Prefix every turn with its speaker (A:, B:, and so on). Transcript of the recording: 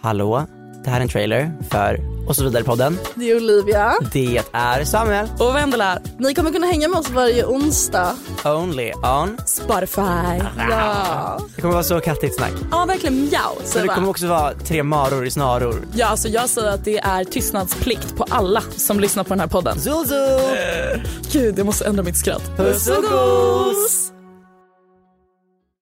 A: Hallå, det här är en trailer för och så vidare-podden.
B: Det är Olivia.
A: Det är Samuel,
C: Och Vendela här.
B: Ni kommer kunna hänga med oss varje onsdag.
A: only on.
C: Spotify.
B: Ja.
A: Det kommer vara så kattigt snack.
C: Ja, verkligen mjau. Så
A: Men det kommer också vara tre maror i snaror.
C: Ja, alltså jag säger att det är tystnadsplikt på alla som lyssnar på den här podden.
A: Zuzu!
C: Gud, jag måste ändra mitt skratt.
A: Puss och gos!
C: Puss.